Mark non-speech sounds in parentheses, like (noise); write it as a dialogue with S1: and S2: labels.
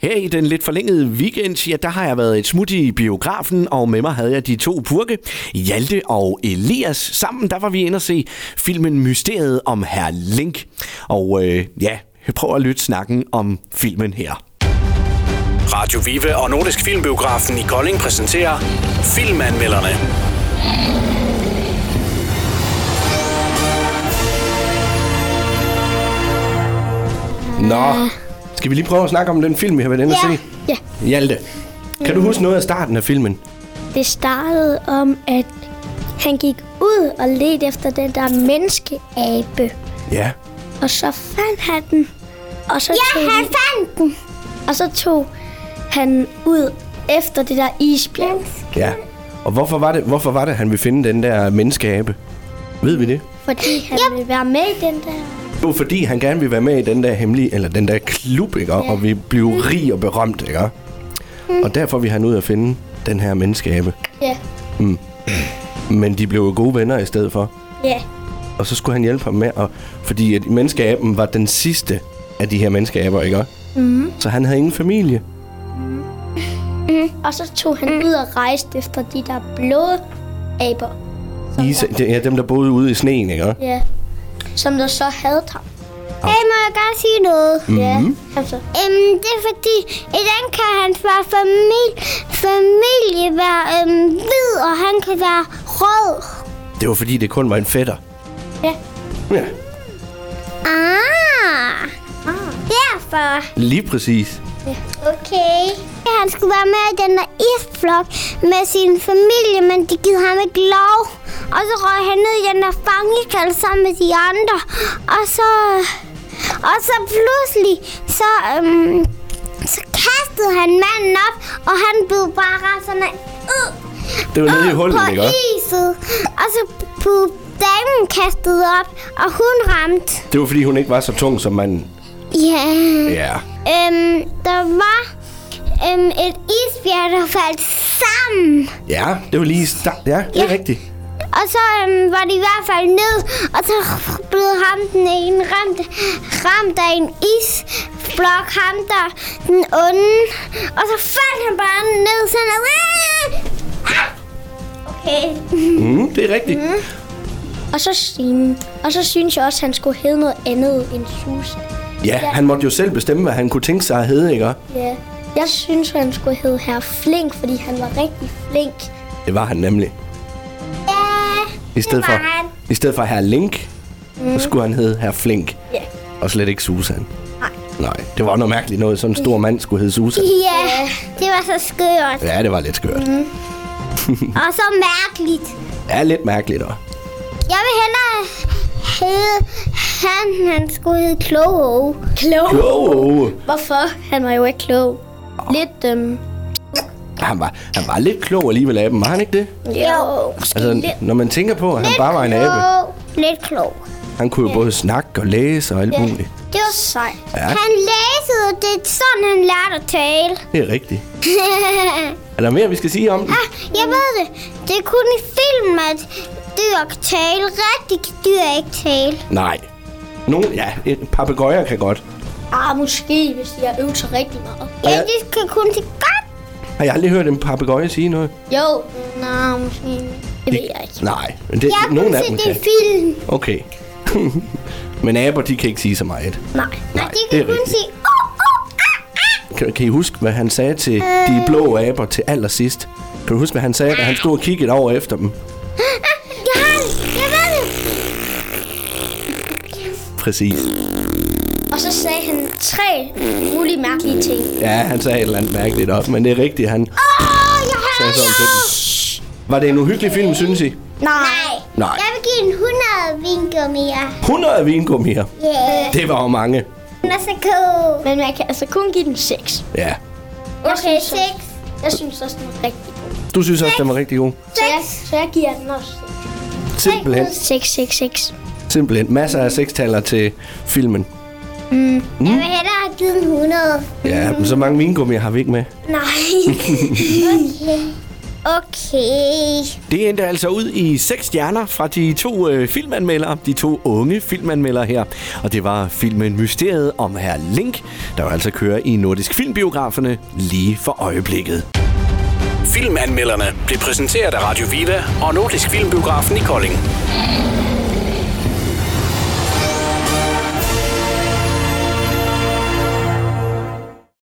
S1: Her i den lidt forlængede weekend, ja, der har jeg været et smut i biografen, og med mig havde jeg de to purke, Hjalte og Elias. Sammen der var vi inde og se filmen Mysteriet om Herr Link. Og øh, ja, prøv at lytte snakken om filmen her.
S2: Radio Vive og Nordisk Filmbiografen i Kolding præsenterer Filmanmelderne.
S3: Nå, skal vi lige prøve at snakke om den film, vi har været inde og se?
S4: ja.
S3: Hjalte, kan du huske noget af starten af filmen?
S4: Det startede om, at han gik ud og ledte efter den der menneskeabe.
S3: Ja.
S4: Og så fandt han den. Og så ja, tog han fandt den. Og så tog han ud efter det der isbjerg.
S3: Ja. Og hvorfor var det, hvorfor var det han ville finde den der menneskeabe? Ved vi det?
S4: Fordi han yep. ville være med i den der.
S3: Det var fordi, han gerne ville være med i den der hemmelige, eller den der klub, ikke? Og vi blev rig og berømt, ikke? Og derfor vi han ud at finde den her menneskeabe.
S4: Ja.
S3: Men de blev jo gode venner i stedet for.
S4: Ja.
S3: Og så skulle han hjælpe ham med, at, fordi at menneskeaben var den sidste af de her menneskeaber, ikke? Mm. Så han havde ingen familie.
S4: Og så tog han ud og rejste efter de der blå aber.
S3: Isa, det, ja, dem, der boede ude i sneen, ikke?
S4: Ja. Som der så havde ham.
S5: Hey, må jeg godt sige noget?
S4: Mm-hmm. Ja. Altså,
S5: Øhm, det er fordi, i den kan han være familie, familie være øhm, hvid, og han kan være rød.
S3: Det var fordi, det kun var en fætter.
S4: Ja.
S3: Ja,
S5: Ah. Derfor.
S3: lige præcis.
S5: Okay. Han skulle være med i den der isflok med sin familie, men de gider ham ikke lov. Og så røg han ned i den der fangekald sammen med de andre. Og så... Og så pludselig, så, øhm, så kastede han manden op, og han blev bare ret sådan... Øh,
S3: Det var nede i hullet,
S5: på
S3: ikke?
S5: iset. Og så blev damen kastet op, og hun ramte.
S3: Det var fordi, hun ikke var så tung som manden.
S5: Ja. Yeah.
S3: Ja.
S5: Øhm, der var øhm, et isbjerg, der faldt sammen.
S3: Ja, det var lige i start. Ja, det er
S5: Ja.
S3: rigtigt.
S5: Og så øhm, var de i hvert fald ned, og så blev ham den ene ramt, ramt af en isblok, ham der den onde. Og så faldt han bare ned sådan, og, Okay.
S3: Mm, det er rigtigt.
S4: og så sin. Og så synes jeg også, at han skulle hedde noget andet end Susan.
S3: Ja, han måtte jo selv bestemme, hvad han kunne tænke sig at hedde, ikke?
S4: Ja. Jeg synes, han skulle hedde herr Flink, fordi han var rigtig flink.
S3: Det var han nemlig.
S5: Ja,
S3: I stedet
S5: det
S3: for,
S5: var han.
S3: i stedet for herr Link, mm. så skulle han hedde herr Flink.
S4: Ja.
S3: Og slet ikke Susan. Nej. Nej, det var noget mærkeligt noget. Sådan en stor mand skulle hedde Susan.
S5: Ja, det var så skørt.
S3: Ja, det var lidt skørt. Mm.
S5: Og så mærkeligt.
S3: Ja, lidt mærkeligt også.
S5: Jeg vil hellere hedde, han, han skulle hedde Kloge.
S4: Klog.
S3: Kloge.
S4: Hvorfor? Han var jo ikke klog. Lidt, øhm,
S3: Han var, han var lidt klog alligevel af dem, var han ikke det?
S4: jo.
S3: Altså, når man tænker på, at han bare var en abe.
S5: Klog. Lidt klog.
S3: Han kunne jo både snakke og læse og alt muligt.
S5: Det var
S4: Sej.
S3: Ja,
S5: Han læsede, og det er sådan, han lærte at tale.
S3: (laughs) det er rigtigt. Er der mere, vi skal sige om den?
S5: Ah, jeg ved det. Det er kun i film, at dyr kan tale. Rigtig kan dyr ikke tale.
S3: Nej. Nogle, ja, et papegøjer kan godt.
S4: Ah, måske, hvis de har øvet sig rigtig meget.
S5: Ja,
S3: jeg-
S5: de kan kun til godt.
S3: Har jeg aldrig hørt en papegøje sige noget?
S4: Jo. Nå, måske. Det ved jeg ikke.
S3: Nej, men det,
S5: Jeg har kun
S3: nogen af dem
S5: set det
S3: kan.
S5: i film.
S3: Okay. (laughs) men aber, de kan ikke sige så meget.
S4: Nej.
S3: Nej,
S5: De
S3: det
S5: kan
S3: er
S5: kun
S3: rigtigt.
S5: sige, oh, oh, ah, ah.
S3: Kan, kan I huske, hvad han sagde til de blå aber til allersidst? Kan du huske, hvad han sagde, da han stod og kiggede over efter dem?
S5: Ah, Jeg har det. Jeg ved det.
S3: Præcis.
S4: Og så sagde han tre mulige mærkelige ting.
S3: Ja, han sagde et eller andet mærkeligt op, men det er rigtigt, han
S5: Åh, jeg har
S3: sagde
S5: det.
S3: sådan til dem. Var det en uhyggelig film, synes I?
S5: Nej.
S3: Nej.
S5: Jeg vil give en 100 vinker mere.
S3: 100 vingummier.
S5: Yeah.
S3: Det var jo mange.
S5: Den er så god.
S4: Men man kan altså kun give den seks.
S3: Ja.
S4: Jeg
S5: Okay,
S4: synes, også,
S5: 6.
S4: jeg synes også, den er rigtig god.
S3: Du synes også, den var rigtig god.
S4: Så jeg, så jeg giver den også
S3: Simpelthen.
S4: 6. 6, 6, 6.
S3: Simpelthen. Masser af sekstaller til filmen.
S5: Jeg vil hellere have givet den 100.
S3: (laughs) Ja, men så mange vingummier har vi ikke med.
S5: Nej. okay. Okay.
S3: Det endte altså ud i seks stjerner fra de to øh, filmanmeldere, de to unge filmanmeldere her. Og det var filmen Mysteriet om herr Link, der jo altså kører i Nordisk Filmbiograferne lige for øjeblikket.
S2: Filmanmelderne blev præsenteret af Radio Viva og Nordisk Filmbiografen i Kolding.